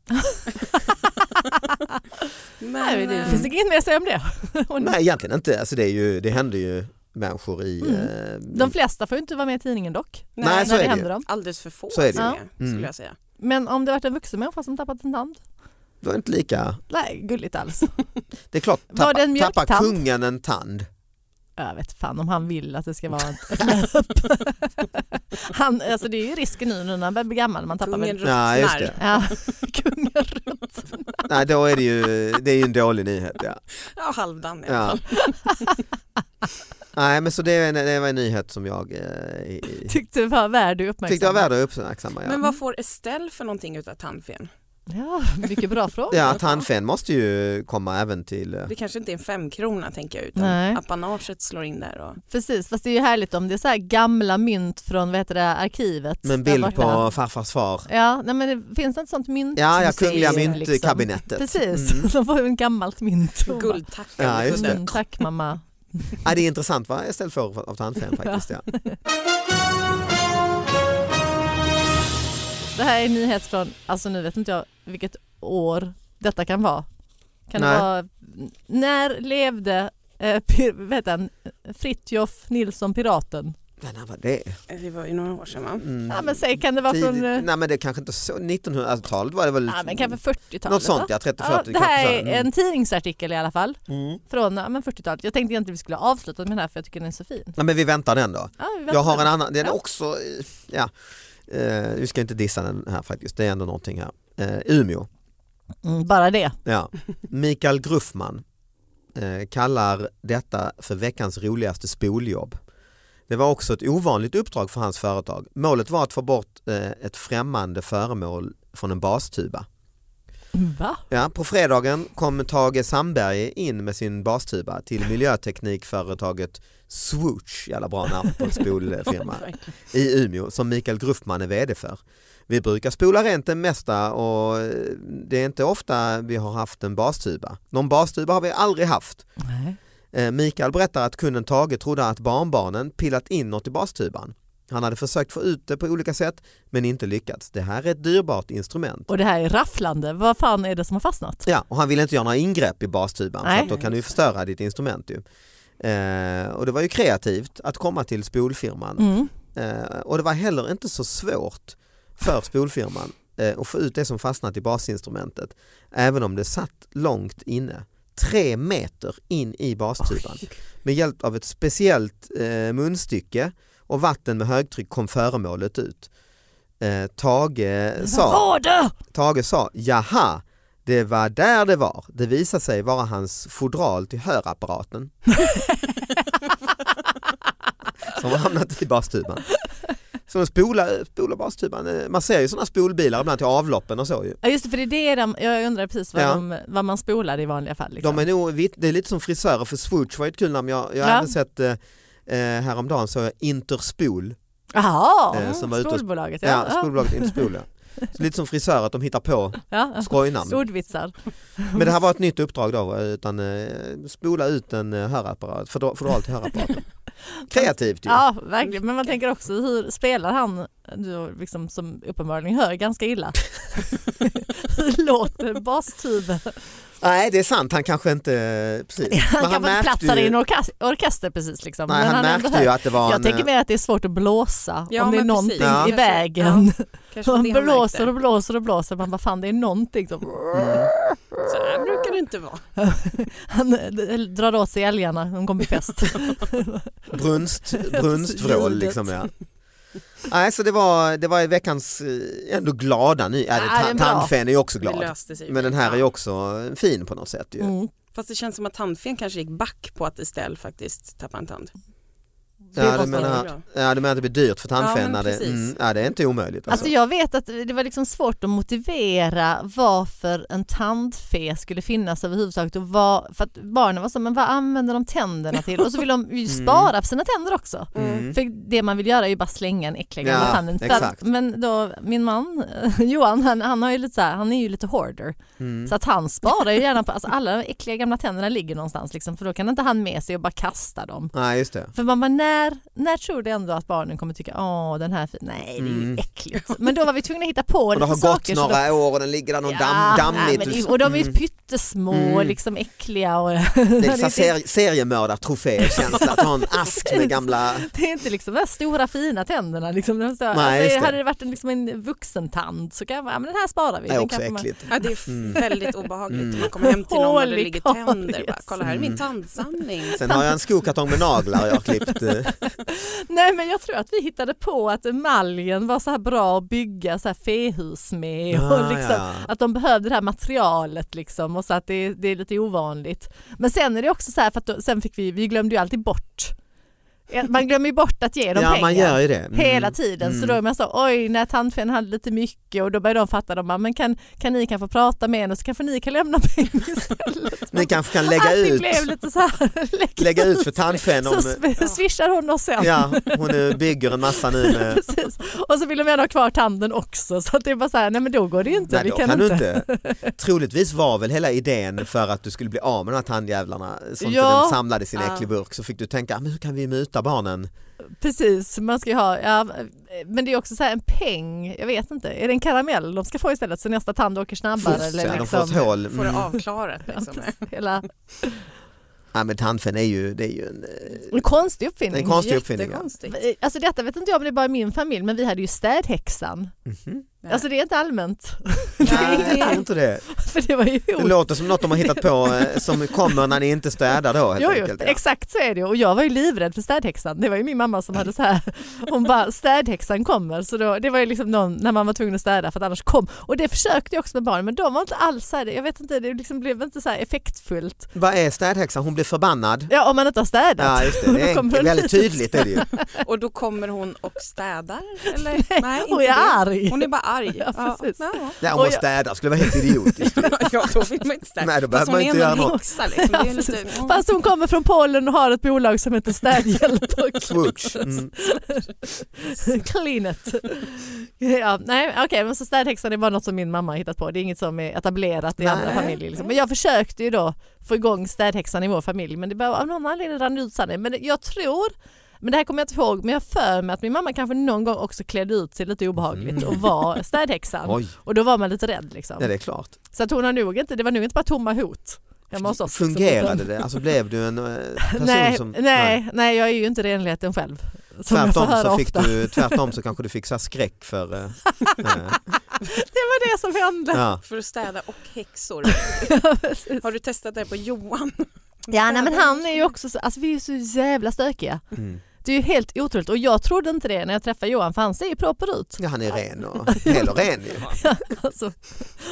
[SPEAKER 3] Nej,
[SPEAKER 4] Men,
[SPEAKER 3] det
[SPEAKER 4] eh,
[SPEAKER 3] finns det inget mer att säga om det.
[SPEAKER 2] Mm.
[SPEAKER 3] Hon-
[SPEAKER 2] Nej egentligen inte, alltså, det, är ju, det händer ju människor i...
[SPEAKER 3] Mm.
[SPEAKER 2] eh,
[SPEAKER 3] De flesta får ju inte vara med i tidningen dock.
[SPEAKER 2] Nej, så
[SPEAKER 3] när
[SPEAKER 2] är det
[SPEAKER 3] det,
[SPEAKER 2] ju.
[SPEAKER 3] händer dem.
[SPEAKER 4] Alldeles för få
[SPEAKER 2] Så är det
[SPEAKER 3] ju.
[SPEAKER 4] skulle jag-
[SPEAKER 2] Mm.
[SPEAKER 4] skulle jag säga.
[SPEAKER 3] Men om det varit en vuxen människa som tappat en tand?
[SPEAKER 2] det var inte lika...
[SPEAKER 3] Nej, gulligt alls.
[SPEAKER 2] Det är klart,
[SPEAKER 3] Var
[SPEAKER 2] tappa,
[SPEAKER 3] det en
[SPEAKER 2] tappar
[SPEAKER 3] mjölktand?
[SPEAKER 2] kungen en tand?
[SPEAKER 3] Jag vet fan om han vill att det ska vara ett löp. Han, alltså det är ju risken nu när man börjar bli gammal. Man tappar
[SPEAKER 4] Kungen
[SPEAKER 3] väl...
[SPEAKER 2] Ja, just det.
[SPEAKER 4] ruttnar.
[SPEAKER 3] Ja, [LAUGHS] kungen runt.
[SPEAKER 2] Nej då är det ju, det är ju en dålig nyhet. Ja.
[SPEAKER 4] Ja, halvdan i alla
[SPEAKER 2] Ja.
[SPEAKER 4] fall.
[SPEAKER 2] [LAUGHS] Nej men så det, är en- det var en nyhet som jag eh, i-
[SPEAKER 3] Tyckte det var värd att uppmärksamma.
[SPEAKER 2] tyckte var värd att uppmärksamma. Ja.
[SPEAKER 4] Men vad får Estelle för någonting utav tandfen?
[SPEAKER 3] Ja, mycket bra
[SPEAKER 2] [LAUGHS]
[SPEAKER 3] fråga.
[SPEAKER 2] Ja, tandfen måste ju komma även till... eh,
[SPEAKER 4] Det kanske inte är en femkrona tänker jag utan
[SPEAKER 3] Nej.
[SPEAKER 4] apanaget slår in där. Och...
[SPEAKER 3] Precis, fast det är ju härligt om det är så här gamla mynt från vad heter det, arkivet.
[SPEAKER 2] Med en
[SPEAKER 3] där
[SPEAKER 2] bild
[SPEAKER 3] borta.
[SPEAKER 2] på farfars far.
[SPEAKER 3] Ja, nej, men det finns det inte sånt mynt?
[SPEAKER 2] Ja, ja
[SPEAKER 3] museum,
[SPEAKER 2] kungliga
[SPEAKER 4] liksom.
[SPEAKER 2] myntkabinettet.
[SPEAKER 3] Precis,
[SPEAKER 2] Mm.
[SPEAKER 3] [LAUGHS] de får ju en gammalt mynt.
[SPEAKER 4] [LAUGHS] Guldtackan.
[SPEAKER 2] Ja, just det.
[SPEAKER 3] Mm, tack mamma.
[SPEAKER 2] Ja, det är intressant va? Istället för av tandfen faktiskt. Ja.
[SPEAKER 3] Det här är en nyhet från, alltså nu vet inte jag vilket år detta kan vara. Kan
[SPEAKER 2] Nej.
[SPEAKER 3] det vara, när levde eh, pir, vet han, Fritjof Nilsson Piraten?
[SPEAKER 2] Men när var det?
[SPEAKER 3] Mm.
[SPEAKER 4] Det var ju några år sedan va?
[SPEAKER 2] Mm.
[SPEAKER 3] Ja men säg kan det vara från, eh,
[SPEAKER 2] Tidigt- Nej men det kanske inte så, 1900-talet var det väl?
[SPEAKER 3] ja men kanske 40-talet?
[SPEAKER 2] något sånt
[SPEAKER 3] va?
[SPEAKER 2] ja, 30-40
[SPEAKER 3] Ja, det här
[SPEAKER 2] kanske
[SPEAKER 3] är
[SPEAKER 2] så. Mm.
[SPEAKER 3] en tidningsartikel i alla fall
[SPEAKER 2] Mm.
[SPEAKER 3] från ja, men 40-talet. Jag tänkte egentligen vi skulle avsluta med den här för jag tycker den är så fin.
[SPEAKER 2] Ja, men vi väntar den då.
[SPEAKER 3] Ja,
[SPEAKER 2] Jag
[SPEAKER 3] vi väntar.
[SPEAKER 2] har en annan, den är
[SPEAKER 3] Ja.
[SPEAKER 2] också, eh, ja, eh, vi ska inte dissa den här faktiskt, det är ändå någonting här. Eh, Umeå,
[SPEAKER 3] mm, bara det.
[SPEAKER 2] ja. Mikael Gruffman eh, kallar detta för veckans roligaste spoljobb. Det var också ett ovanligt uppdrag för hans företag. Målet var att få bort eh, ett främmande föremål från en bastuba.
[SPEAKER 3] Mm, Va?
[SPEAKER 2] Ja, på fredagen kom Tage Sandberg in med sin bastuba till miljöteknikföretaget Swoosh, jävla bra namn på en
[SPEAKER 4] [LAUGHS]
[SPEAKER 2] spolfirma, i Umeå som Mikael Gruffman är vd för. Vi brukar spola rent det mesta och eh, det är inte ofta vi har haft en bastuba. Någon bastuba har vi aldrig haft.
[SPEAKER 3] Nej.
[SPEAKER 2] Eh, Mikael berättar att kunden Tage trodde att barnbarnen pillat in något i bastuban. Han hade försökt få ut det på olika sätt men inte lyckats. Det här är ett dyrbart instrument.
[SPEAKER 3] Och det här är rafflande. Vad fan är det som har fastnat?
[SPEAKER 2] Ja, och han ville inte göra några ingrepp i bastuban för
[SPEAKER 3] Nej.
[SPEAKER 2] att då kan du ju förstöra ditt instrument ju. Eh, och det var ju kreativt att komma till spolfirman
[SPEAKER 3] Mm.
[SPEAKER 2] eh, och det var heller inte så svårt för spolfirman eh, att få ut det som fastnat i basinstrumentet även om det satt långt inne. Tre meter in i bastuban. Med hjälp av ett speciellt eh, munstycke och vatten med högtryck kom föremålet ut. Eh, Tage sa...
[SPEAKER 3] Vad var det?
[SPEAKER 2] Tage sa jaha, det var där det var. Det visade sig vara hans fodral till hörapparaten. som har hamnat i bastuban. Så de spolar, spolar bastuban. Eh, Man ser ju sådana spolbilar ibland till avloppen och så ju.
[SPEAKER 3] [LAUGHS] Ja just det, för det är det de, jag undrar precis vad,
[SPEAKER 2] Ja.
[SPEAKER 3] de, vad man spolar i vanliga fall. Liksom.
[SPEAKER 2] De är nog, vitt- det är lite som frisörer för swoosh var ju ett kul namn. Jag, jag har
[SPEAKER 3] Ja.
[SPEAKER 2] även sett eh, eh, häromdagen såg jag Interspol,
[SPEAKER 3] Jaha,
[SPEAKER 2] eh, som var ute och-
[SPEAKER 3] stålbolaget.
[SPEAKER 2] ja, spolbolaget Interspol. Ja. Så lite som frisörer att de hittar på
[SPEAKER 3] ja.
[SPEAKER 2] skojnamn.
[SPEAKER 3] Stordvitsar.
[SPEAKER 2] Men det här var ett nytt uppdrag då, utan eh, spola ut en eh, hörapparat, fodra- fodral till
[SPEAKER 3] [LAUGHS]
[SPEAKER 2] hörapparaten. Kreativt ju.
[SPEAKER 3] Ja, verkligen. Men man tänker också, hur spelar han, du liksom, som uppenbarligen hör
[SPEAKER 2] [LAUGHS]
[SPEAKER 3] ganska illa, hur låter bastuben?
[SPEAKER 2] Nej det är sant, han kanske inte, eh, precis.
[SPEAKER 3] Han
[SPEAKER 2] Men
[SPEAKER 3] kanske inte platsar
[SPEAKER 2] ju,
[SPEAKER 3] i en orkas- orkester precis. Liksom.
[SPEAKER 2] nej,
[SPEAKER 3] men
[SPEAKER 2] han,
[SPEAKER 3] ändå
[SPEAKER 2] märkte
[SPEAKER 3] hör.
[SPEAKER 2] ju att det var
[SPEAKER 3] Jag
[SPEAKER 2] en,
[SPEAKER 3] tänker mer att det är svårt att blåsa
[SPEAKER 4] Ja,
[SPEAKER 3] om det är
[SPEAKER 4] men precis.
[SPEAKER 3] någonting
[SPEAKER 2] Ja.
[SPEAKER 3] i
[SPEAKER 4] Kanske-
[SPEAKER 3] vägen.
[SPEAKER 4] Kanske
[SPEAKER 3] Han
[SPEAKER 4] det han
[SPEAKER 3] blåser och
[SPEAKER 4] märkte.
[SPEAKER 3] blåser och blåser. Man bara fan det är någonting
[SPEAKER 2] Mm.
[SPEAKER 3] som
[SPEAKER 4] Så här brukar det inte vara.
[SPEAKER 3] Han eh, drar åt sig älgarna, de kommer
[SPEAKER 2] [LAUGHS]
[SPEAKER 3] i fest.
[SPEAKER 2] eh,
[SPEAKER 3] [LAUGHS]
[SPEAKER 2] brunst, brunstvrål
[SPEAKER 3] Ljudet.
[SPEAKER 2] liksom ja. Nej så det var, det var veckans eh, ändå glada ny, äh,
[SPEAKER 3] Ja, det är
[SPEAKER 2] tan-
[SPEAKER 3] bra.
[SPEAKER 2] tandfen är ju också
[SPEAKER 4] Det
[SPEAKER 2] glad.
[SPEAKER 4] löste sig.
[SPEAKER 2] Men den här är ju också fin på något sätt ju.
[SPEAKER 3] Mm.
[SPEAKER 4] Fast det känns som att tandfen kanske gick back på att Estelle faktiskt tappade en tand.
[SPEAKER 2] Ja, du
[SPEAKER 3] måste
[SPEAKER 4] vara
[SPEAKER 2] menar,
[SPEAKER 4] bra.
[SPEAKER 2] ja du menar att det blir dyrt för tandfen?
[SPEAKER 4] men
[SPEAKER 2] när det,
[SPEAKER 4] precis.
[SPEAKER 2] mm, ja, det är inte omöjligt.
[SPEAKER 3] Alltså jag vet att det var liksom svårt att motivera varför en tandfe skulle finnas överhuvudtaget. Och vad, för att barnen var så, men vad använder de tänderna till? Och så vill de ju
[SPEAKER 2] [LAUGHS] Mm.
[SPEAKER 3] spara på sina tänder också.
[SPEAKER 2] Mm.
[SPEAKER 3] För det man vill göra är ju bara slänga en äcklig
[SPEAKER 2] Ja,
[SPEAKER 3] gamla tanden. För
[SPEAKER 2] exakt.
[SPEAKER 3] att, men då, min man [LAUGHS] Johan, han, han, har ju lite så här, han är ju lite hoarder.
[SPEAKER 2] Mm.
[SPEAKER 3] Så att han sparar ju gärna på, alltså alla de äckliga gamla tänderna ligger någonstans liksom, för då kan inte han med sig och bara kasta dem.
[SPEAKER 2] Nej just det.
[SPEAKER 3] För man bara, när, när tror du ändå att barnen kommer tycka åh den här fin, nej det är ju
[SPEAKER 2] Mm.
[SPEAKER 3] äckligt. Men då var vi tvungna att hitta på
[SPEAKER 2] Och det
[SPEAKER 3] lite
[SPEAKER 2] har gått
[SPEAKER 3] saker. så
[SPEAKER 2] några år och den ligger där någon
[SPEAKER 3] Ja,
[SPEAKER 2] damm,
[SPEAKER 3] nej,
[SPEAKER 2] dammigt.
[SPEAKER 3] men det- och de är ju
[SPEAKER 2] Mm.
[SPEAKER 3] pyttesmå och
[SPEAKER 2] Mm.
[SPEAKER 3] liksom äckliga och
[SPEAKER 2] Det är
[SPEAKER 3] [LAUGHS] det är-
[SPEAKER 2] en ser, seriemördartrofékänsla att ha en ask med gamla...
[SPEAKER 3] det är inte liksom de här stora fina tänderna. Liksom. De så-
[SPEAKER 2] Nej, just
[SPEAKER 3] alltså,
[SPEAKER 2] det.
[SPEAKER 3] hade det varit en, liksom en vuxentand så kan jag bara, ja, men den här sparar vi.
[SPEAKER 2] Det är
[SPEAKER 3] Den
[SPEAKER 2] också
[SPEAKER 3] kanske man-
[SPEAKER 2] äckligt.
[SPEAKER 4] Ja, det är
[SPEAKER 2] Mm.
[SPEAKER 4] väldigt obehagligt
[SPEAKER 2] Mm.
[SPEAKER 4] när man kommer hem till någon och det
[SPEAKER 3] Hålig
[SPEAKER 4] ligger
[SPEAKER 3] karies.
[SPEAKER 4] tänder. Bara, Kolla här är min
[SPEAKER 2] Mm.
[SPEAKER 4] tandsamling.
[SPEAKER 2] Sen har jag en skokartong med naglar jag har klippt.
[SPEAKER 3] [LAUGHS]
[SPEAKER 2] eh.
[SPEAKER 3] Nej men jag tror att vi hittade på att emaljen var så här bra att bygga så här fehus med.
[SPEAKER 2] Ah,
[SPEAKER 3] och liksom,
[SPEAKER 2] ja.
[SPEAKER 3] Att de behövde det här materialet liksom och så att det, det är lite ovanligt. Men sen är det också så här för att då, sen fick vi, vi glömde ju alltid bort. Man glömmer ju bort att ge dem
[SPEAKER 2] Ja
[SPEAKER 3] pengar.
[SPEAKER 2] man gör ju det. Mm.
[SPEAKER 3] Hela tiden så då är man så oj när tandfen hade lite mycket och då börjar de fatta de bara, men kan, kan ni kanske prata med henne så kanske ni kan lämna [LAUGHS] pengar istället.
[SPEAKER 2] Ni kanske kan lägga
[SPEAKER 3] [LAUGHS] Allting
[SPEAKER 2] ut,
[SPEAKER 3] blev lite så här, [LAUGHS] lägg
[SPEAKER 2] lägga ut för tandfen
[SPEAKER 3] [LAUGHS] så
[SPEAKER 2] om...
[SPEAKER 3] sw- swishar hon oss sen.
[SPEAKER 2] Ja, hon eh, bygger en massa nu med...
[SPEAKER 3] [LAUGHS] Precis. Och [LAUGHS] så vill de gärna ha kvar tanden också så att det är bara så här, nej men då går det ju inte.
[SPEAKER 2] Nej,
[SPEAKER 3] vi
[SPEAKER 2] då
[SPEAKER 3] kan
[SPEAKER 2] kan du
[SPEAKER 3] inte.
[SPEAKER 2] inte. Troligtvis var väl hela idén för att du skulle bli av med de här tandjävlarna som
[SPEAKER 3] Ja.
[SPEAKER 2] den samlade i sin
[SPEAKER 4] Ja.
[SPEAKER 2] äcklig burk så fick du tänka, "Ah, men hur kan vi muta skjuta barnen.
[SPEAKER 3] Precis, man ska ju ha, ja, men det är också så här en peng, jag vet inte, är det en karamell de ska få istället så nästa tand åker snabbare?
[SPEAKER 2] Fort,
[SPEAKER 3] eller
[SPEAKER 2] ja, de får
[SPEAKER 3] liksom-
[SPEAKER 2] ett hål.
[SPEAKER 4] Får
[SPEAKER 2] Mm.
[SPEAKER 4] det avklarat liksom.
[SPEAKER 3] Hela,
[SPEAKER 2] Ja, men tandfen är ju, det är ju en, eh,
[SPEAKER 3] en konstig uppfinning.
[SPEAKER 2] en konstig uppfinning. Ja.
[SPEAKER 4] Jättekonstigt.
[SPEAKER 3] Alltså detta vet inte jag om det är bara i min familj men vi hade ju städhäxan. [LAUGHS]
[SPEAKER 2] Mhm.
[SPEAKER 4] Nej.
[SPEAKER 3] Alltså det är inte allmänt. [LAUGHS]
[SPEAKER 4] Nej,
[SPEAKER 2] Jag tror inte det.
[SPEAKER 3] För det var ju
[SPEAKER 2] Det låter som något de har hittat på eh, som kommer när ni inte städar då helt
[SPEAKER 3] Jo, jo,
[SPEAKER 2] enkelt. Ja.
[SPEAKER 3] exakt så är det och jag var ju livrädd för städhäxan. Det var ju min mamma som hade så här,
[SPEAKER 2] [LAUGHS]
[SPEAKER 3] hon bara städhäxan kommer. Så då, det var ju liksom någon, när man var tvungen att städa för att annars kom. Och det försökte jag också med barnen men de var inte alls så här, jag vet inte, det liksom blev inte så här effektfullt.
[SPEAKER 2] Vad är städhäxan? Hon blir förbannad.
[SPEAKER 3] Ja om man inte har städat.
[SPEAKER 2] Ja, just det.
[SPEAKER 3] Och då
[SPEAKER 2] det är
[SPEAKER 3] kommer
[SPEAKER 2] enkelt.
[SPEAKER 3] hon
[SPEAKER 2] väldigt
[SPEAKER 3] dit.
[SPEAKER 2] tydligt är det ju.
[SPEAKER 4] Och då kommer hon och städar?
[SPEAKER 3] [LAUGHS]
[SPEAKER 4] Eller? Nej,
[SPEAKER 3] Hon är
[SPEAKER 4] inte det.
[SPEAKER 3] arg.
[SPEAKER 4] Hon är bara arg.
[SPEAKER 3] [LAUGHS] Ja, precis.
[SPEAKER 4] Ja. [LAUGHS]
[SPEAKER 2] Där
[SPEAKER 3] Och
[SPEAKER 2] hon
[SPEAKER 3] jag-
[SPEAKER 2] städar skulle vara helt
[SPEAKER 3] [LAUGHS]
[SPEAKER 2] idiotiskt.
[SPEAKER 4] ja, då vill man inte städa.
[SPEAKER 2] Nej, då
[SPEAKER 4] Fast
[SPEAKER 2] behöver
[SPEAKER 4] hon
[SPEAKER 2] man
[SPEAKER 4] är
[SPEAKER 2] inte
[SPEAKER 4] ändå
[SPEAKER 2] göra
[SPEAKER 4] en
[SPEAKER 2] något.
[SPEAKER 4] häxa
[SPEAKER 3] [LAUGHS]
[SPEAKER 4] liksom. Det
[SPEAKER 3] Ja,
[SPEAKER 4] är lite,
[SPEAKER 3] precis. Fast hon kommer från Polen och har ett bolag som heter
[SPEAKER 2] [LAUGHS]
[SPEAKER 3] Städhjälp och
[SPEAKER 2] Swoosh. Mm.
[SPEAKER 3] Cleanet. Ja, nej, okej, men så städhäxan är bara något som min mamma har hittat på. Det är inget som är etablerat i
[SPEAKER 2] Nej.
[SPEAKER 3] andra familjer. Liksom. Men jag försökte ju då få igång städhäxan i vår familj men det bara, av någon anledning rann det ut sanningen. Men jag tror, men det här kommer jag inte ihåg, men jag har för mig att min mamma kanske någon gång också klädde ut sig lite obehagligt och var städhäxan.
[SPEAKER 2] Mm. [LAUGHS] Oj,
[SPEAKER 3] Och då var man lite rädd liksom.
[SPEAKER 2] ja, det är klart.
[SPEAKER 3] Så att hon har nog inte, det var nog inte bara tomma hot. hemma hos oss, liksom.
[SPEAKER 2] Fungerade det? Alltså blev du en eh, person
[SPEAKER 3] nej,
[SPEAKER 2] som...
[SPEAKER 3] nej, nej, jag är ju inte renligheten själv. Som jag får
[SPEAKER 2] Tvärtom
[SPEAKER 3] höra
[SPEAKER 2] så,
[SPEAKER 3] ofta.
[SPEAKER 2] fick du, tvärtom så kanske du fick så här skräck för... eh, eh,
[SPEAKER 3] [LAUGHS] Det var det som hände.
[SPEAKER 2] ja.
[SPEAKER 4] för att städa och häxor.
[SPEAKER 3] [LAUGHS] precis.
[SPEAKER 4] Har du testat det här på Johan?
[SPEAKER 3] Ja, nej, men han är ju också så, alltså vi är ju så jävla stökiga.
[SPEAKER 2] Mm.
[SPEAKER 3] Det är ju helt otroligt och jag trodde inte det när jag träffade Johan för han ser ju proper ut.
[SPEAKER 2] ja, han är ren och hel och ren ju.
[SPEAKER 3] [LAUGHS] Alltså,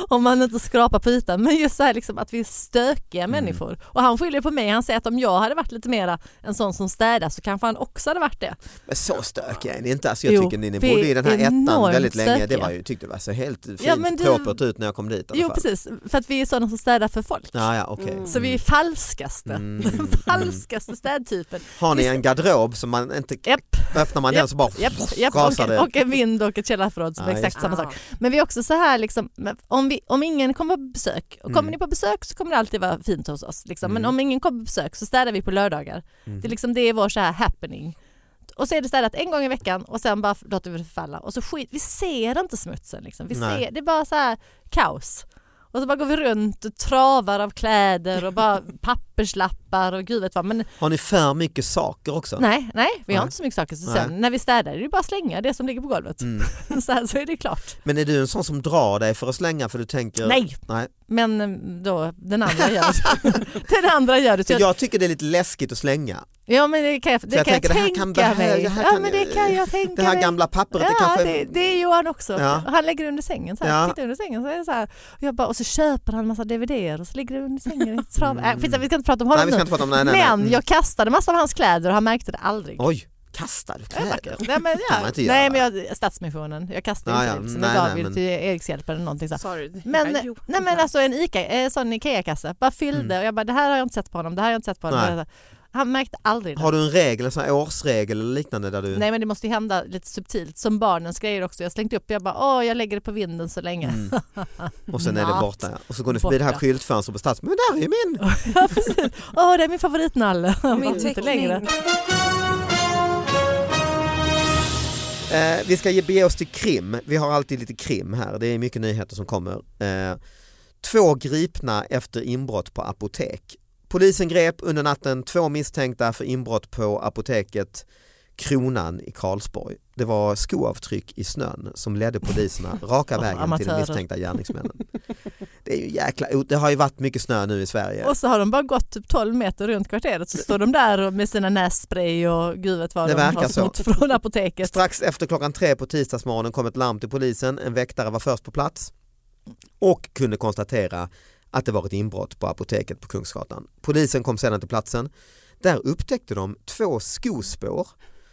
[SPEAKER 3] om man inte skrapar på ytan men just så här liksom att vi är stökiga
[SPEAKER 2] Mm.
[SPEAKER 3] människor. Och han skyller på mig, han säger att om jag hade varit lite mera en sån som städar så kanske han också hade varit det.
[SPEAKER 2] Men så stökiga är ni inte. Alltså jag
[SPEAKER 3] Jo,
[SPEAKER 2] tycker ni, ni
[SPEAKER 3] vi är
[SPEAKER 2] bodde i den här ettan
[SPEAKER 3] enormt
[SPEAKER 2] väldigt länge. Det
[SPEAKER 3] stökiga.
[SPEAKER 2] var ju, tyckte det var så helt fint
[SPEAKER 3] men du-
[SPEAKER 2] propert ut när jag kom dit i alla
[SPEAKER 3] Jo
[SPEAKER 2] fall.
[SPEAKER 3] precis, för att vi är sådana som städar för folk.
[SPEAKER 2] Ja, ja, okej.
[SPEAKER 4] Mm.
[SPEAKER 3] Så vi är falskaste. [LAUGHS]
[SPEAKER 2] Mm.
[SPEAKER 3] Den falskaste städtypen.
[SPEAKER 2] Har ni en garderob som man inte...
[SPEAKER 3] Japp.
[SPEAKER 2] Öppnar man den så bara
[SPEAKER 3] Japp, japp, och,
[SPEAKER 2] rasar
[SPEAKER 3] en,
[SPEAKER 2] det.
[SPEAKER 3] och en vind och ett källarförråd som
[SPEAKER 2] Ja,
[SPEAKER 3] är exakt
[SPEAKER 2] just
[SPEAKER 3] [LAUGHS] samma sak. Men vi är också så här, liksom, men om, vi, om ingen kommer på besök, och kommer
[SPEAKER 2] Mm.
[SPEAKER 3] ni på besök så kommer det alltid vara fint hos oss. Liksom. Men
[SPEAKER 2] Mm.
[SPEAKER 3] om ingen kommer på besök så städar vi på lördagar.
[SPEAKER 2] Mm.
[SPEAKER 3] Det, är liksom, det är vår så här happening. Och så är det städat en gång i veckan och sen bara låter vi det förfalla. Och så skit, vi ser inte smutsen liksom. Vi
[SPEAKER 2] Nej.
[SPEAKER 3] ser, det är bara så här kaos. Och så bara går vi runt och travar av kläder
[SPEAKER 2] [LAUGHS]
[SPEAKER 3] och bara papperslappar och gud vet vad. Men
[SPEAKER 2] Har ni för mycket saker också?
[SPEAKER 3] nej, nej, vi har
[SPEAKER 2] Nej.
[SPEAKER 3] inte så mycket saker. Så
[SPEAKER 2] Nej.
[SPEAKER 3] sen när vi städar är det ju bara att slänga det som ligger på golvet.
[SPEAKER 2] Mm.
[SPEAKER 3] [LAUGHS] Så, här, så är det klart.
[SPEAKER 2] Men är du en sån som drar dig för att slänga för du tänker...
[SPEAKER 3] Nej.
[SPEAKER 2] Nej.
[SPEAKER 3] Men eh, då, den andra gör det. [LAUGHS] den andra gör det. Så
[SPEAKER 2] För
[SPEAKER 3] jag,
[SPEAKER 2] jag tycker det är lite läskigt att slänga.
[SPEAKER 3] ja men det kan jag, det
[SPEAKER 2] jag
[SPEAKER 3] kan jag
[SPEAKER 2] tänker, det här
[SPEAKER 3] tänka
[SPEAKER 2] kan behö-
[SPEAKER 3] mig.
[SPEAKER 2] det här
[SPEAKER 3] ja
[SPEAKER 2] kan-
[SPEAKER 3] men det kan jag tänka
[SPEAKER 2] Det här
[SPEAKER 3] mig.
[SPEAKER 2] gamla pappret,
[SPEAKER 3] ja,
[SPEAKER 2] det kanske...
[SPEAKER 3] det, det är Johan också.
[SPEAKER 2] Ja.
[SPEAKER 3] Han lägger det under sängen så här.
[SPEAKER 2] Ja.
[SPEAKER 3] Tittar under sängen så är det så här. Och, jag bara, och så köper han massa DVDer och så ligger det under sängen i ett trav.
[SPEAKER 2] Mm.
[SPEAKER 3] Äh, skitsamma, vi ska inte prata om
[SPEAKER 2] nej,
[SPEAKER 3] honom
[SPEAKER 2] vi ska
[SPEAKER 3] nu.
[SPEAKER 2] inte prata om... Nej, nej, nej.
[SPEAKER 3] men
[SPEAKER 2] Mm.
[SPEAKER 3] jag kastade massor av hans kläder och han märkte det aldrig.
[SPEAKER 2] Oj, kastar du
[SPEAKER 3] Jag bara,
[SPEAKER 2] kläder?
[SPEAKER 3] Nej men,
[SPEAKER 2] kan man
[SPEAKER 3] ja.
[SPEAKER 2] inte göra.
[SPEAKER 3] nej, men jag, Stadsmissionen, jag kastade
[SPEAKER 2] Ja,
[SPEAKER 3] inte
[SPEAKER 2] ja,
[SPEAKER 3] det. Så
[SPEAKER 2] nej,
[SPEAKER 3] jag gav
[SPEAKER 2] nej,
[SPEAKER 3] ju det
[SPEAKER 2] men-
[SPEAKER 3] till Erikshjälpen eller någonting så här.
[SPEAKER 4] Ah, Sorry.
[SPEAKER 3] Men,
[SPEAKER 4] Ja, jo.
[SPEAKER 3] nej men alltså en Ica, eh, sån Ikea-kasse, bara fyllde
[SPEAKER 2] Mm.
[SPEAKER 3] och jag bara det här har jag inte sett på honom, det här har jag inte sett på honom. Han märkte aldrig det.
[SPEAKER 2] Har du en regel, en sån här årsregel eller liknande där du...
[SPEAKER 3] Nej men det måste ju hända lite subtilt, som barnens grejer också. Jag slängt upp, jag bara åh jag lägger det på vinden så länge.
[SPEAKER 2] Mm. Och sen är det
[SPEAKER 3] Natt.
[SPEAKER 2] borta. ja. Och så går ni förbi det
[SPEAKER 3] Borta.
[SPEAKER 2] här skyltfönstret på Stads... Men där är ju min!
[SPEAKER 3] [LAUGHS] Ja, precis. Åh det är min favoritnalle. Jag bara,
[SPEAKER 4] Min
[SPEAKER 3] inte
[SPEAKER 4] teckning.
[SPEAKER 3] längre.
[SPEAKER 2] Eh, vi ska ge- bege oss till krim. Vi har alltid lite krim här. Det är mycket nyheter som kommer. Eh, två gripna efter inbrott på apotek. Polisen grep under natten två misstänkta för inbrott på apoteket Kronan i Karlsborg. Det var skoavtryck i snön som ledde
[SPEAKER 3] [LAUGHS]
[SPEAKER 2] poliserna raka vägen till de
[SPEAKER 3] Amatörer.
[SPEAKER 2] misstänkta gärningsmännen. Det, är ju jäkla, o- det har ju varit mycket snö nu i Sverige.
[SPEAKER 3] Och så har de bara gått typ 12 meter runt kvarteret så står de där och med sina nässpray och gud vet vad
[SPEAKER 2] Det
[SPEAKER 3] de
[SPEAKER 2] verkar
[SPEAKER 3] har
[SPEAKER 2] så.
[SPEAKER 3] snott från apoteket.
[SPEAKER 2] Strax efter klockan tre på tisdagsmorgonen kom ett larm till polisen. En väktare var först på plats och kunde konstatera att det var ett inbrott på apoteket på Kungsgatan. Polisen kom sedan till platsen. Där upptäckte de två skospår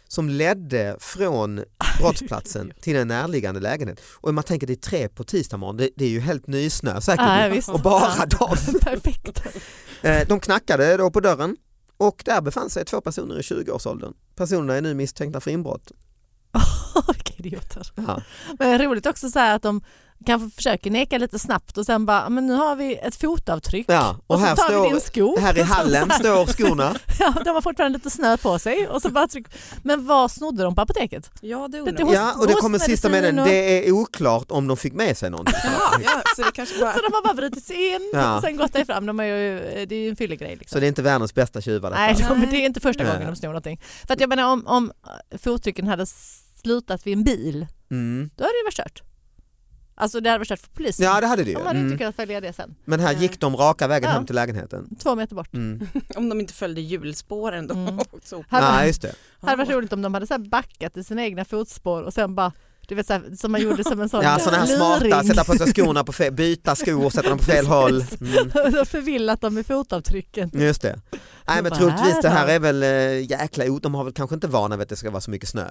[SPEAKER 2] som ledde
[SPEAKER 3] [LAUGHS]
[SPEAKER 2] från brottsplatsen till en närliggande lägenhet. Och man tänker det är tre på tisdagsmorgon, det, det är ju helt nysnö säkert.
[SPEAKER 3] Ja, visst.
[SPEAKER 2] och bara dem.
[SPEAKER 3] [LAUGHS] Perfekt.
[SPEAKER 2] Eh, De knackade då på dörren och där befann sig två personer i 20-årsåldern. Personerna är nu misstänkta för inbrott.
[SPEAKER 3] Vilka idioter.
[SPEAKER 2] Ja.
[SPEAKER 3] Men roligt också så här att de kanske försöker neka lite snabbt och sen bara, men nu har vi ett fotavtryck.
[SPEAKER 2] Ja, och,
[SPEAKER 3] Och,
[SPEAKER 2] här,
[SPEAKER 3] så tar vi
[SPEAKER 2] står,
[SPEAKER 3] din sko.
[SPEAKER 2] här i hallen står skorna.
[SPEAKER 3] [LAUGHS] Ja, de har fortfarande lite snö på sig. Och så bara tryck. Men vad snodde de på apoteket?
[SPEAKER 4] Ja,
[SPEAKER 3] [LAUGHS]
[SPEAKER 4] det
[SPEAKER 3] Det
[SPEAKER 4] undrar
[SPEAKER 3] tog-
[SPEAKER 4] jag.
[SPEAKER 2] Ja, och det kommer
[SPEAKER 3] hostmedicin
[SPEAKER 2] sista meningen,
[SPEAKER 3] och-
[SPEAKER 2] det är oklart om de fick med sig
[SPEAKER 3] [LAUGHS]
[SPEAKER 2] någonting.
[SPEAKER 4] Jaha, ja, så det kanske bara...
[SPEAKER 3] Så de har bara brutit sig in
[SPEAKER 2] Ja.
[SPEAKER 3] och sen gått därifrån. De är ju, det är ju en fyllegrej. Liksom.
[SPEAKER 2] Så det är inte världens bästa tjuvar. detta.
[SPEAKER 3] Nej, de,
[SPEAKER 4] Nej.
[SPEAKER 3] det är inte första
[SPEAKER 2] Nej.
[SPEAKER 3] gången de snor någonting. För att jag menar om, om fottrycken hade slutat vid en bil,
[SPEAKER 2] Mm.
[SPEAKER 3] då hade det varit kört. Alltså det hade varit kört för polisen.
[SPEAKER 2] Ja, det hade det ju.
[SPEAKER 3] de hade inte
[SPEAKER 2] Mm.
[SPEAKER 3] kunnat följa det sen.
[SPEAKER 2] Men här gick de raka vägen
[SPEAKER 3] Ja.
[SPEAKER 2] hem till lägenheten.
[SPEAKER 3] Två meter bort. [LAUGHS]
[SPEAKER 2] Mm.
[SPEAKER 4] Om de inte följde hjulspåren då.
[SPEAKER 3] Mm.
[SPEAKER 4] Så,
[SPEAKER 3] Hade,
[SPEAKER 2] Ja, just det.
[SPEAKER 3] hade varit roligt om de hade så här backat i sina egna fotspår och sen bara, du vet så här, som man gjorde som en sån
[SPEAKER 2] Ja, sådana här smarta,
[SPEAKER 3] luring.
[SPEAKER 2] sätta på sig skorna, på fel, byta skor, sätta dem på fel håll. Mm.
[SPEAKER 3] [LAUGHS] och förvillat dem med fotavtrycken.
[SPEAKER 2] Just det. Nej men
[SPEAKER 3] Vad
[SPEAKER 2] troligtvis
[SPEAKER 3] är
[SPEAKER 2] det här
[SPEAKER 3] det?
[SPEAKER 2] är väl eh, jäkla o- de har väl kanske inte vana vid att det ska vara så mycket
[SPEAKER 3] [LAUGHS]
[SPEAKER 2] snö.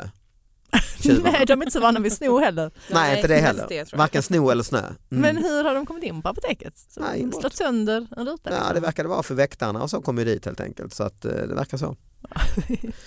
[SPEAKER 2] Tjuvarna.
[SPEAKER 3] Nej, de är inte så vana vid sno heller.
[SPEAKER 2] Nej, inte det
[SPEAKER 4] helst
[SPEAKER 2] heller.
[SPEAKER 4] Det, tror jag.
[SPEAKER 2] Varken sno eller snö. Mm.
[SPEAKER 3] Men hur har de kommit in på apoteket? Så
[SPEAKER 2] Nej, inbrott.
[SPEAKER 3] slått sönder en
[SPEAKER 2] Ja,
[SPEAKER 3] ruta? liksom.
[SPEAKER 2] det verkade vara för väktarna och så kom ju dit helt enkelt. Så att eh, det verkar så.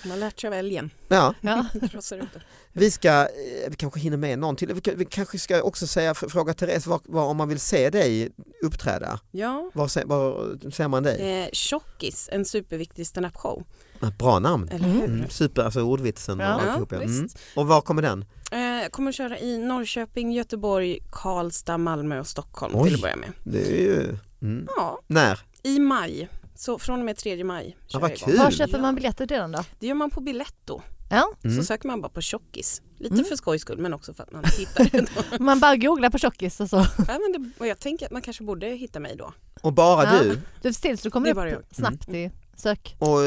[SPEAKER 4] Man har lärt sig av älgen.
[SPEAKER 2] Ja,
[SPEAKER 3] ja.
[SPEAKER 4] [LAUGHS] Krossar ut det.
[SPEAKER 2] vi ska, eh, vi kanske hinner med någon till. Vi, kan- vi kanske ska också säga, f- fråga Therese var, var, om man vill se dig uppträda.
[SPEAKER 4] Ja.
[SPEAKER 2] Var, se, var ser man dig?
[SPEAKER 4] Eh, Tjockis, en superviktig standup-show.
[SPEAKER 2] Ah, Bra namn.
[SPEAKER 4] Eller
[SPEAKER 3] Mm.
[SPEAKER 4] Eh, hur?
[SPEAKER 2] Super, alltså ordvitsen
[SPEAKER 3] Ja,
[SPEAKER 2] och alltihop. Ja. Mm.
[SPEAKER 4] visst.
[SPEAKER 2] Och var kommer den?
[SPEAKER 4] Eh, Jag kommer att köra i Norrköping, Göteborg, Karlstad, Malmö och Stockholm
[SPEAKER 2] Oj.
[SPEAKER 4] till att börja med.
[SPEAKER 2] Det är ju... Mm.
[SPEAKER 4] Ja,
[SPEAKER 2] När?
[SPEAKER 4] i maj. Så från och med 3 maj kör
[SPEAKER 2] Ja, vad
[SPEAKER 4] jag igång.
[SPEAKER 2] kul.
[SPEAKER 3] Var köper man biljetter redan då?
[SPEAKER 4] Det gör man på Biletto.
[SPEAKER 3] Ja.
[SPEAKER 2] Mm.
[SPEAKER 4] Så söker man bara på tjockis. Lite
[SPEAKER 3] Mm.
[SPEAKER 4] för skojs skull men också för att man hittar
[SPEAKER 2] [LAUGHS]
[SPEAKER 4] det då.
[SPEAKER 3] Man bara googlar på tjockis och så.
[SPEAKER 4] ja, men det, och jag tänker att man kanske borde hitta mig då.
[SPEAKER 2] Och bara
[SPEAKER 3] Ja.
[SPEAKER 2] du?
[SPEAKER 3] Du ser till så du
[SPEAKER 4] Det
[SPEAKER 3] kommer
[SPEAKER 4] är bara Mm.
[SPEAKER 3] upp snabbt i sök.
[SPEAKER 2] Och,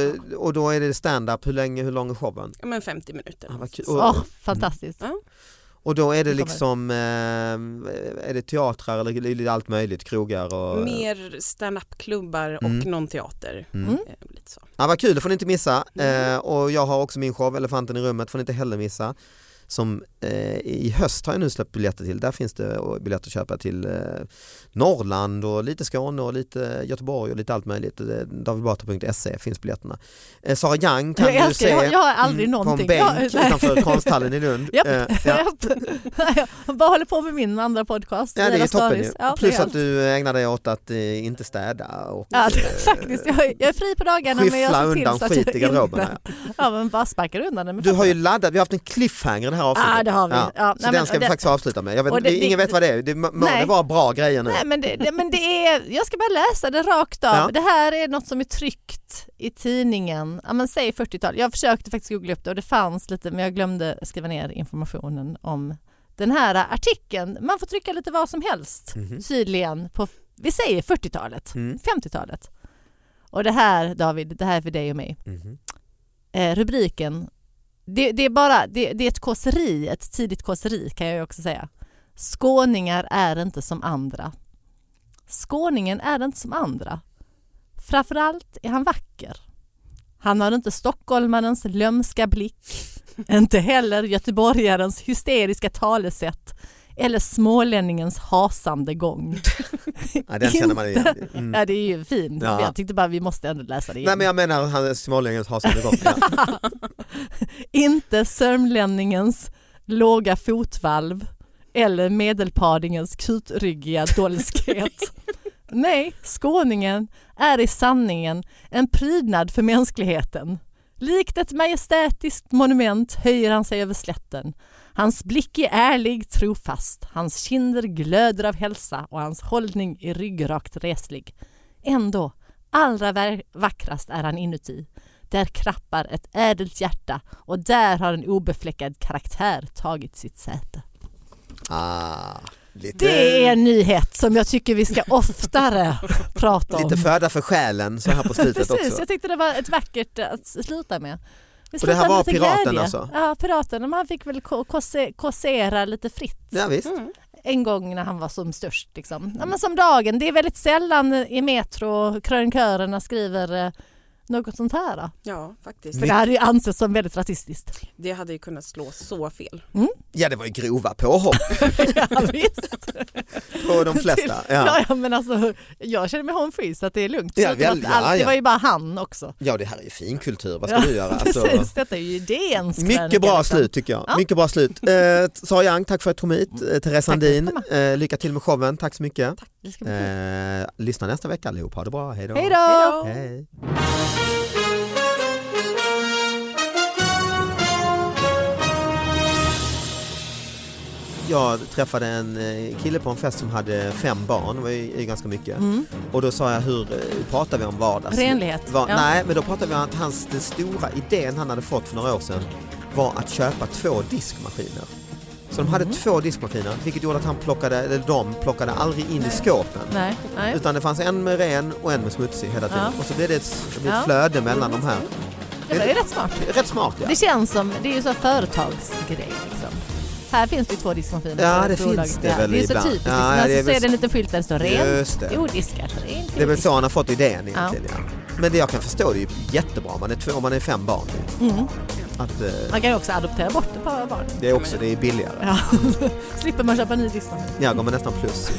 [SPEAKER 2] och då är det stand-up, hur, länge, hur lång är showen?
[SPEAKER 4] Ja, men 50 minuter.
[SPEAKER 2] Ah, vad kul.
[SPEAKER 4] Så-
[SPEAKER 2] Och,
[SPEAKER 3] Åh, fantastiskt.
[SPEAKER 2] och då är det
[SPEAKER 3] Det kommer.
[SPEAKER 2] liksom, eh, är det teatrar eller är det allt möjligt, krogar och...
[SPEAKER 4] Mer standup-klubbar och
[SPEAKER 2] Mm.
[SPEAKER 4] någon teater.
[SPEAKER 2] Mm.
[SPEAKER 3] Mm.
[SPEAKER 4] Eh, Lite så.
[SPEAKER 2] Ja, vad kul, det får ni inte missa.
[SPEAKER 4] Mm.
[SPEAKER 2] Eh, och jag har också min show Elefanten i rummet, får ni inte heller missa. Som eh, i höst har jag nu släppt biljetter till. Där finns det eh, biljetter att köpa till eh, Norrland och lite Skåne och lite Göteborg och lite allt möjligt. Eh, Davidbatra.se finns biljetterna. Eh, Sara Young kan
[SPEAKER 3] Jag
[SPEAKER 2] du
[SPEAKER 3] älskar,
[SPEAKER 2] se
[SPEAKER 3] jag, jag har aldrig
[SPEAKER 2] mm, på en
[SPEAKER 3] någonting.
[SPEAKER 2] bänk
[SPEAKER 3] Jag- nej.
[SPEAKER 2] utanför konsthallen i Lund.
[SPEAKER 3] [LAUGHS] Japp.
[SPEAKER 2] Eh, ja.
[SPEAKER 3] Japp. Jag bara håller på med min andra podcast.
[SPEAKER 2] Ja det är
[SPEAKER 3] Dina
[SPEAKER 2] toppen
[SPEAKER 3] stories.
[SPEAKER 2] ju.
[SPEAKER 3] Ja,
[SPEAKER 2] Plus
[SPEAKER 3] det är
[SPEAKER 2] att du ägnar dig åt att eh, inte städa och
[SPEAKER 3] Ja, [LAUGHS] det,
[SPEAKER 2] eh,
[SPEAKER 3] faktiskt. Jag, är- jag är fri på dagarna men jag
[SPEAKER 2] skyffla
[SPEAKER 3] ser till
[SPEAKER 2] undan
[SPEAKER 3] så att
[SPEAKER 2] skit
[SPEAKER 3] jag
[SPEAKER 2] i garderoberna.
[SPEAKER 3] inte- Ja, men bara sparkar undan den. med
[SPEAKER 2] Du har ju
[SPEAKER 3] fötterna.
[SPEAKER 2] laddat, vi har haft en cliffhanger i det här avsnittet.
[SPEAKER 3] Ja, det har vi.
[SPEAKER 2] Ja.
[SPEAKER 3] Ja,
[SPEAKER 2] Så
[SPEAKER 3] nej,
[SPEAKER 2] den
[SPEAKER 3] men-
[SPEAKER 2] ska vi
[SPEAKER 3] det-
[SPEAKER 2] faktiskt avsluta med. Jag vet,
[SPEAKER 3] och det-
[SPEAKER 2] det, ingen
[SPEAKER 3] det-
[SPEAKER 2] vet vad det är, det må må
[SPEAKER 3] Nej.
[SPEAKER 2] det vara bra grejer nu.
[SPEAKER 3] Nej, men det, det, men det är, jag ska bara läsa det rakt av.
[SPEAKER 2] Ja.
[SPEAKER 3] Det här är något som är tryckt i tidningen, ja, men säg 40-tal. Jag försökte faktiskt googla upp det och det fanns lite men jag glömde skriva ner informationen om den här artikeln. Man får trycka lite vad som helst
[SPEAKER 2] Mhm.
[SPEAKER 3] tydligen på, vi säger 40-talet,
[SPEAKER 2] Mm.
[SPEAKER 3] 50-talet. Och det här David, det här är för dig och mig.
[SPEAKER 2] Mhm.
[SPEAKER 3] Eh, rubriken, det, det är bara, det, det är ett kåseri, ett tidigt kåseri kan jag ju också säga. Skåningar är inte som andra. Skåningen är inte som andra. Framförallt är han vacker. Han har inte stockholmarens lömska blick, inte heller göteborgarens hysteriska talesätt eller smålänningens hasande gång.
[SPEAKER 2] Mm. Ja, den känner man
[SPEAKER 3] [LAUGHS]
[SPEAKER 2] igen. Mm.
[SPEAKER 3] Ja, det är ju fint.
[SPEAKER 2] Ja.
[SPEAKER 3] Jag tyckte bara vi måste ändå läsa det igen.
[SPEAKER 2] Nej men jag menar han smålänningen har sin igång. Ja.
[SPEAKER 3] [LAUGHS] Inte sörmlänningens låga fotvalv eller medelpadingens kutryggiga dolskhet. Nej, skåningen är i sanningen en prydnad för mänskligheten. Likt ett majestätiskt monument höjer han sig över slätten. Hans blick är ärlig, trofast, hans kinder glöder av hälsa och hans hållning är ryggrakt reslig. Ändå, allra vä- vackrast är han inuti. Där krappar ett ädelt hjärta och där har en obefläckad karaktär tagit sitt säte.
[SPEAKER 2] Ah, lite,
[SPEAKER 3] Det är en nyhet som jag tycker
[SPEAKER 2] [LAUGHS]
[SPEAKER 3] vi ska oftare prata om.
[SPEAKER 2] lite föda för själen så här på slutet
[SPEAKER 3] Precis,
[SPEAKER 2] också.
[SPEAKER 3] jag tyckte det var ett vackert eh, att sluta med. Vi
[SPEAKER 2] Och det här
[SPEAKER 3] slutar med
[SPEAKER 2] var
[SPEAKER 3] lite
[SPEAKER 2] piraten
[SPEAKER 3] glädje.
[SPEAKER 2] alltså?
[SPEAKER 3] Ja, piraten. Men han fick väl ko- kose- kåsera lite fritt
[SPEAKER 2] Ja, visst.
[SPEAKER 4] Mm.
[SPEAKER 3] en gång när han var som störst. Liksom. Ja, men som dagen, det är väldigt sällan i Metro krönikörerna skriver eh, något sånt här. Då.
[SPEAKER 4] Ja, faktiskt.
[SPEAKER 3] För det hade ju ansetts som
[SPEAKER 2] [LAUGHS]
[SPEAKER 3] väldigt rasistiskt.
[SPEAKER 4] Det hade ju kunnat slå så fel.
[SPEAKER 2] Ja, det var ju grova påhopp
[SPEAKER 3] ja, visst.
[SPEAKER 2] på
[SPEAKER 3] [LAUGHS]
[SPEAKER 2] de flesta. Ja.
[SPEAKER 3] Typ. Ja, ja, men alltså, jag känner mig home free så att det är lugnt.
[SPEAKER 2] Ja,
[SPEAKER 3] Förutom
[SPEAKER 2] väl,
[SPEAKER 3] att allt-
[SPEAKER 2] ja,
[SPEAKER 3] Det
[SPEAKER 2] ja.
[SPEAKER 3] var ju bara han också.
[SPEAKER 2] ja, det här är ju finkultur. Vad ska
[SPEAKER 3] Ja,
[SPEAKER 2] du
[SPEAKER 3] [LAUGHS]
[SPEAKER 2] göra? [LAUGHS] Alltså,
[SPEAKER 3] Precis, detta är ju idéns krönika,
[SPEAKER 2] mycket bra
[SPEAKER 3] liksom.
[SPEAKER 2] slut tycker jag.
[SPEAKER 3] Ja. Mm.
[SPEAKER 2] Mycket bra
[SPEAKER 3] [LAUGHS]
[SPEAKER 2] slut. Eh, Sara Young, tack för att du kom hit. Eh, Therese
[SPEAKER 3] för att jag
[SPEAKER 2] Sandin,
[SPEAKER 3] fick
[SPEAKER 2] eh, lycka till med showen. Tack så mycket.
[SPEAKER 3] Det ska bli kul.
[SPEAKER 2] Eh, lyssna nästa vecka allihop. Ha det bra. Hej då.
[SPEAKER 3] Hej då!
[SPEAKER 4] Hej då!
[SPEAKER 2] Hej. Jag träffade en eh, kille på en fest som hade fem barn, det var ju är ju ganska mycket.
[SPEAKER 3] Mm.
[SPEAKER 2] Och då sa jag, hur eh, pratar vi om vardags...
[SPEAKER 3] Renlighet.
[SPEAKER 2] Va-
[SPEAKER 3] ja.
[SPEAKER 2] Nej, men då pratade vi om att hans, den stora idén han hade fått för några år sedan var att köpa två diskmaskiner. Så de hade
[SPEAKER 3] Mm.
[SPEAKER 2] två diskmaskiner, vilket gjorde att han plockade, eller de plockade aldrig in i skåpen.
[SPEAKER 3] Nej, nej.
[SPEAKER 2] Utan det fanns en med ren och en med smutsig hela tiden.
[SPEAKER 3] Ja.
[SPEAKER 2] Och så blev det ett, det blev ett
[SPEAKER 3] Ja.
[SPEAKER 2] flöde mellan de här.
[SPEAKER 3] Det var ju rätt smart.
[SPEAKER 2] Rätt smart ja.
[SPEAKER 3] Det känns som, det är ju så företagsgrej liksom. Här finns det ju två diskmaskiner.
[SPEAKER 2] Ja,
[SPEAKER 3] för
[SPEAKER 2] det
[SPEAKER 3] ett bolag.
[SPEAKER 2] finns det
[SPEAKER 3] Ja,
[SPEAKER 2] väl
[SPEAKER 3] Det är ju så
[SPEAKER 2] ibland.
[SPEAKER 3] typiskt.
[SPEAKER 2] Ja,
[SPEAKER 3] liksom.
[SPEAKER 2] det är
[SPEAKER 3] alltså, så
[SPEAKER 2] väl-
[SPEAKER 3] är det en liten skylt där det står ren,
[SPEAKER 2] Just det.
[SPEAKER 3] odiskat, rent,
[SPEAKER 2] Det är väl
[SPEAKER 3] odiskat.
[SPEAKER 2] så han har fått idén egentligen. Ja. Men det jag kan förstå det är ju jättebra om man är, två, om man är fem barn.
[SPEAKER 3] Mm.
[SPEAKER 2] Att, eh,
[SPEAKER 3] Man kan ju också adoptera bort ett par barn.
[SPEAKER 2] det är också det är billigare.
[SPEAKER 3] Ja. Slipper man köpa en ny diskmaskin.
[SPEAKER 2] Ja, går man nästan plus.